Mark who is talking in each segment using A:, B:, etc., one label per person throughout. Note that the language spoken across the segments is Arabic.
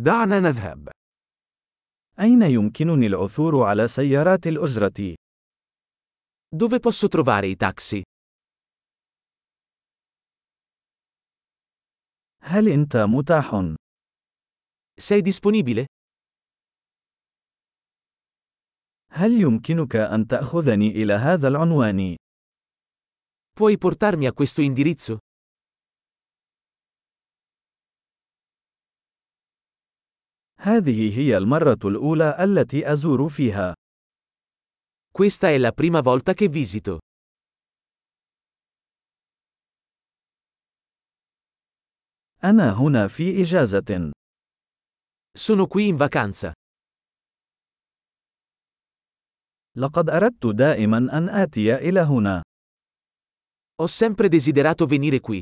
A: دعنا نذهب.
B: أين يمكنني العثور على سيارات الأجرة؟
A: Dove posso trovare i taxi?
B: هل أنت متاح؟
A: Sei disponibile?
B: هل يمكنك أن تأخذني إلى هذا العنوان؟
A: Puoi portarmi a questo indirizzo?
B: هذه هي المرة الأولى التي أزور فيها.
A: Questa è la prima volta che visito.
B: أنا هنا في إجازة.
A: Sono qui in vacanza.
B: لقد أردت دائما أن آتي إلى هنا.
A: Ho sempre desiderato venire qui.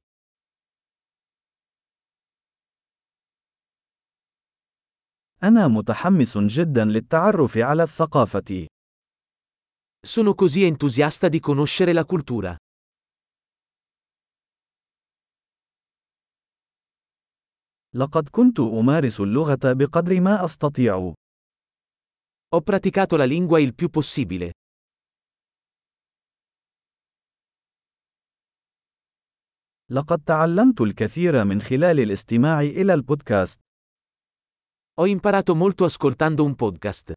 B: أنا متحمس جدا للتعرف على الثقافة.
A: Sono così entusiasta di conoscere la cultura.
B: لقد كنت أمارس اللغة بقدر ما أستطيع.
A: Ho praticato la lingua il più possibile.
B: لقد تعلمت الكثير من خلال الاستماع إلى البودكاست.
A: Ho imparato molto ascoltando un podcast.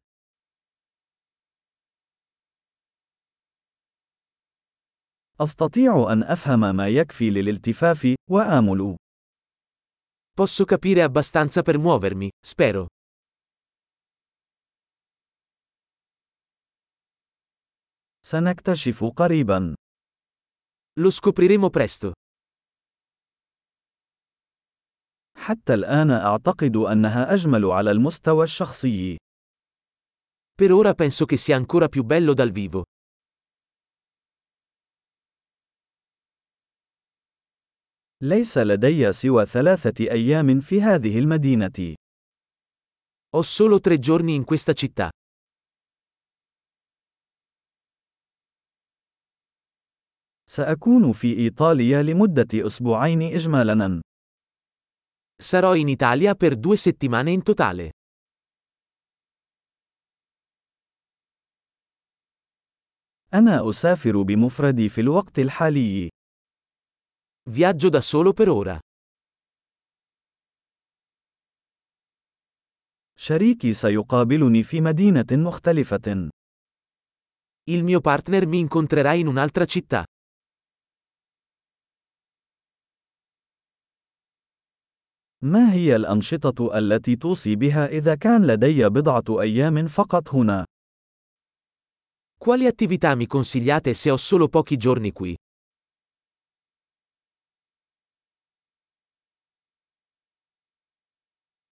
B: أستطيع أن أفهم ما يكفي للالتفاف وآمل.
A: Posso capire abbastanza per muovermi, spero.
B: سنكتشف قريبا.
A: Lo scopriremo presto.
B: حتى الآن أعتقد أنها أجمل على المستوى الشخصي.
A: Per ora penso che sia ancora più bello dal vivo.
B: ليس لدي سوى ثلاثة أيام في هذه المدينة.
A: Ho solo tre giorni in questa città.
B: سأكون في إيطاليا لمدة أسبوعين إجمالاً.
A: Sarò in Italia per due settimane in totale.
B: أنا أسافر بمفردي في الوقت الحالي.
A: Viaggio da solo per ora.
B: شريكي سيقابلني في مدينة مختلفة.
A: Il mio partner mi incontrerà in un'altra città.
B: ما هي الأنشطة التي توصي بها إذا كان لدي بضعة أيام فقط هنا؟
A: Quali attività mi consigliate se ho solo pochi giorni qui?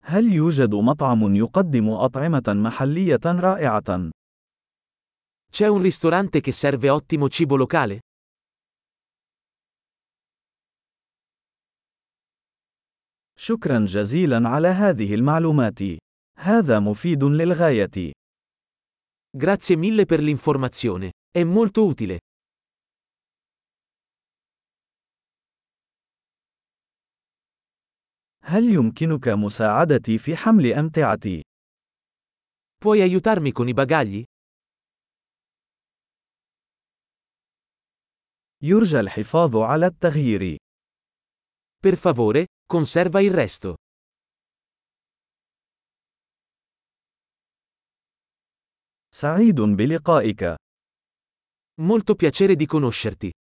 B: هل يوجد مطعم يقدم أطعمة محلية رائعة؟
A: C'è un ristorante che serve ottimo cibo locale?
B: شكرا جزيلا على هذه المعلومات. هذا مفيد للغاية.
A: Grazie mille per l'informazione. È molto utile.
B: هل يمكنك مساعدتي في حمل أمتعتي؟
A: Puoi aiutarmi con i bagagli?
B: يرجى الحفاظ على التغيير.
A: Per favore, conserva il resto.
B: سعيد بلقائك.
A: Molto piacere di conoscerti.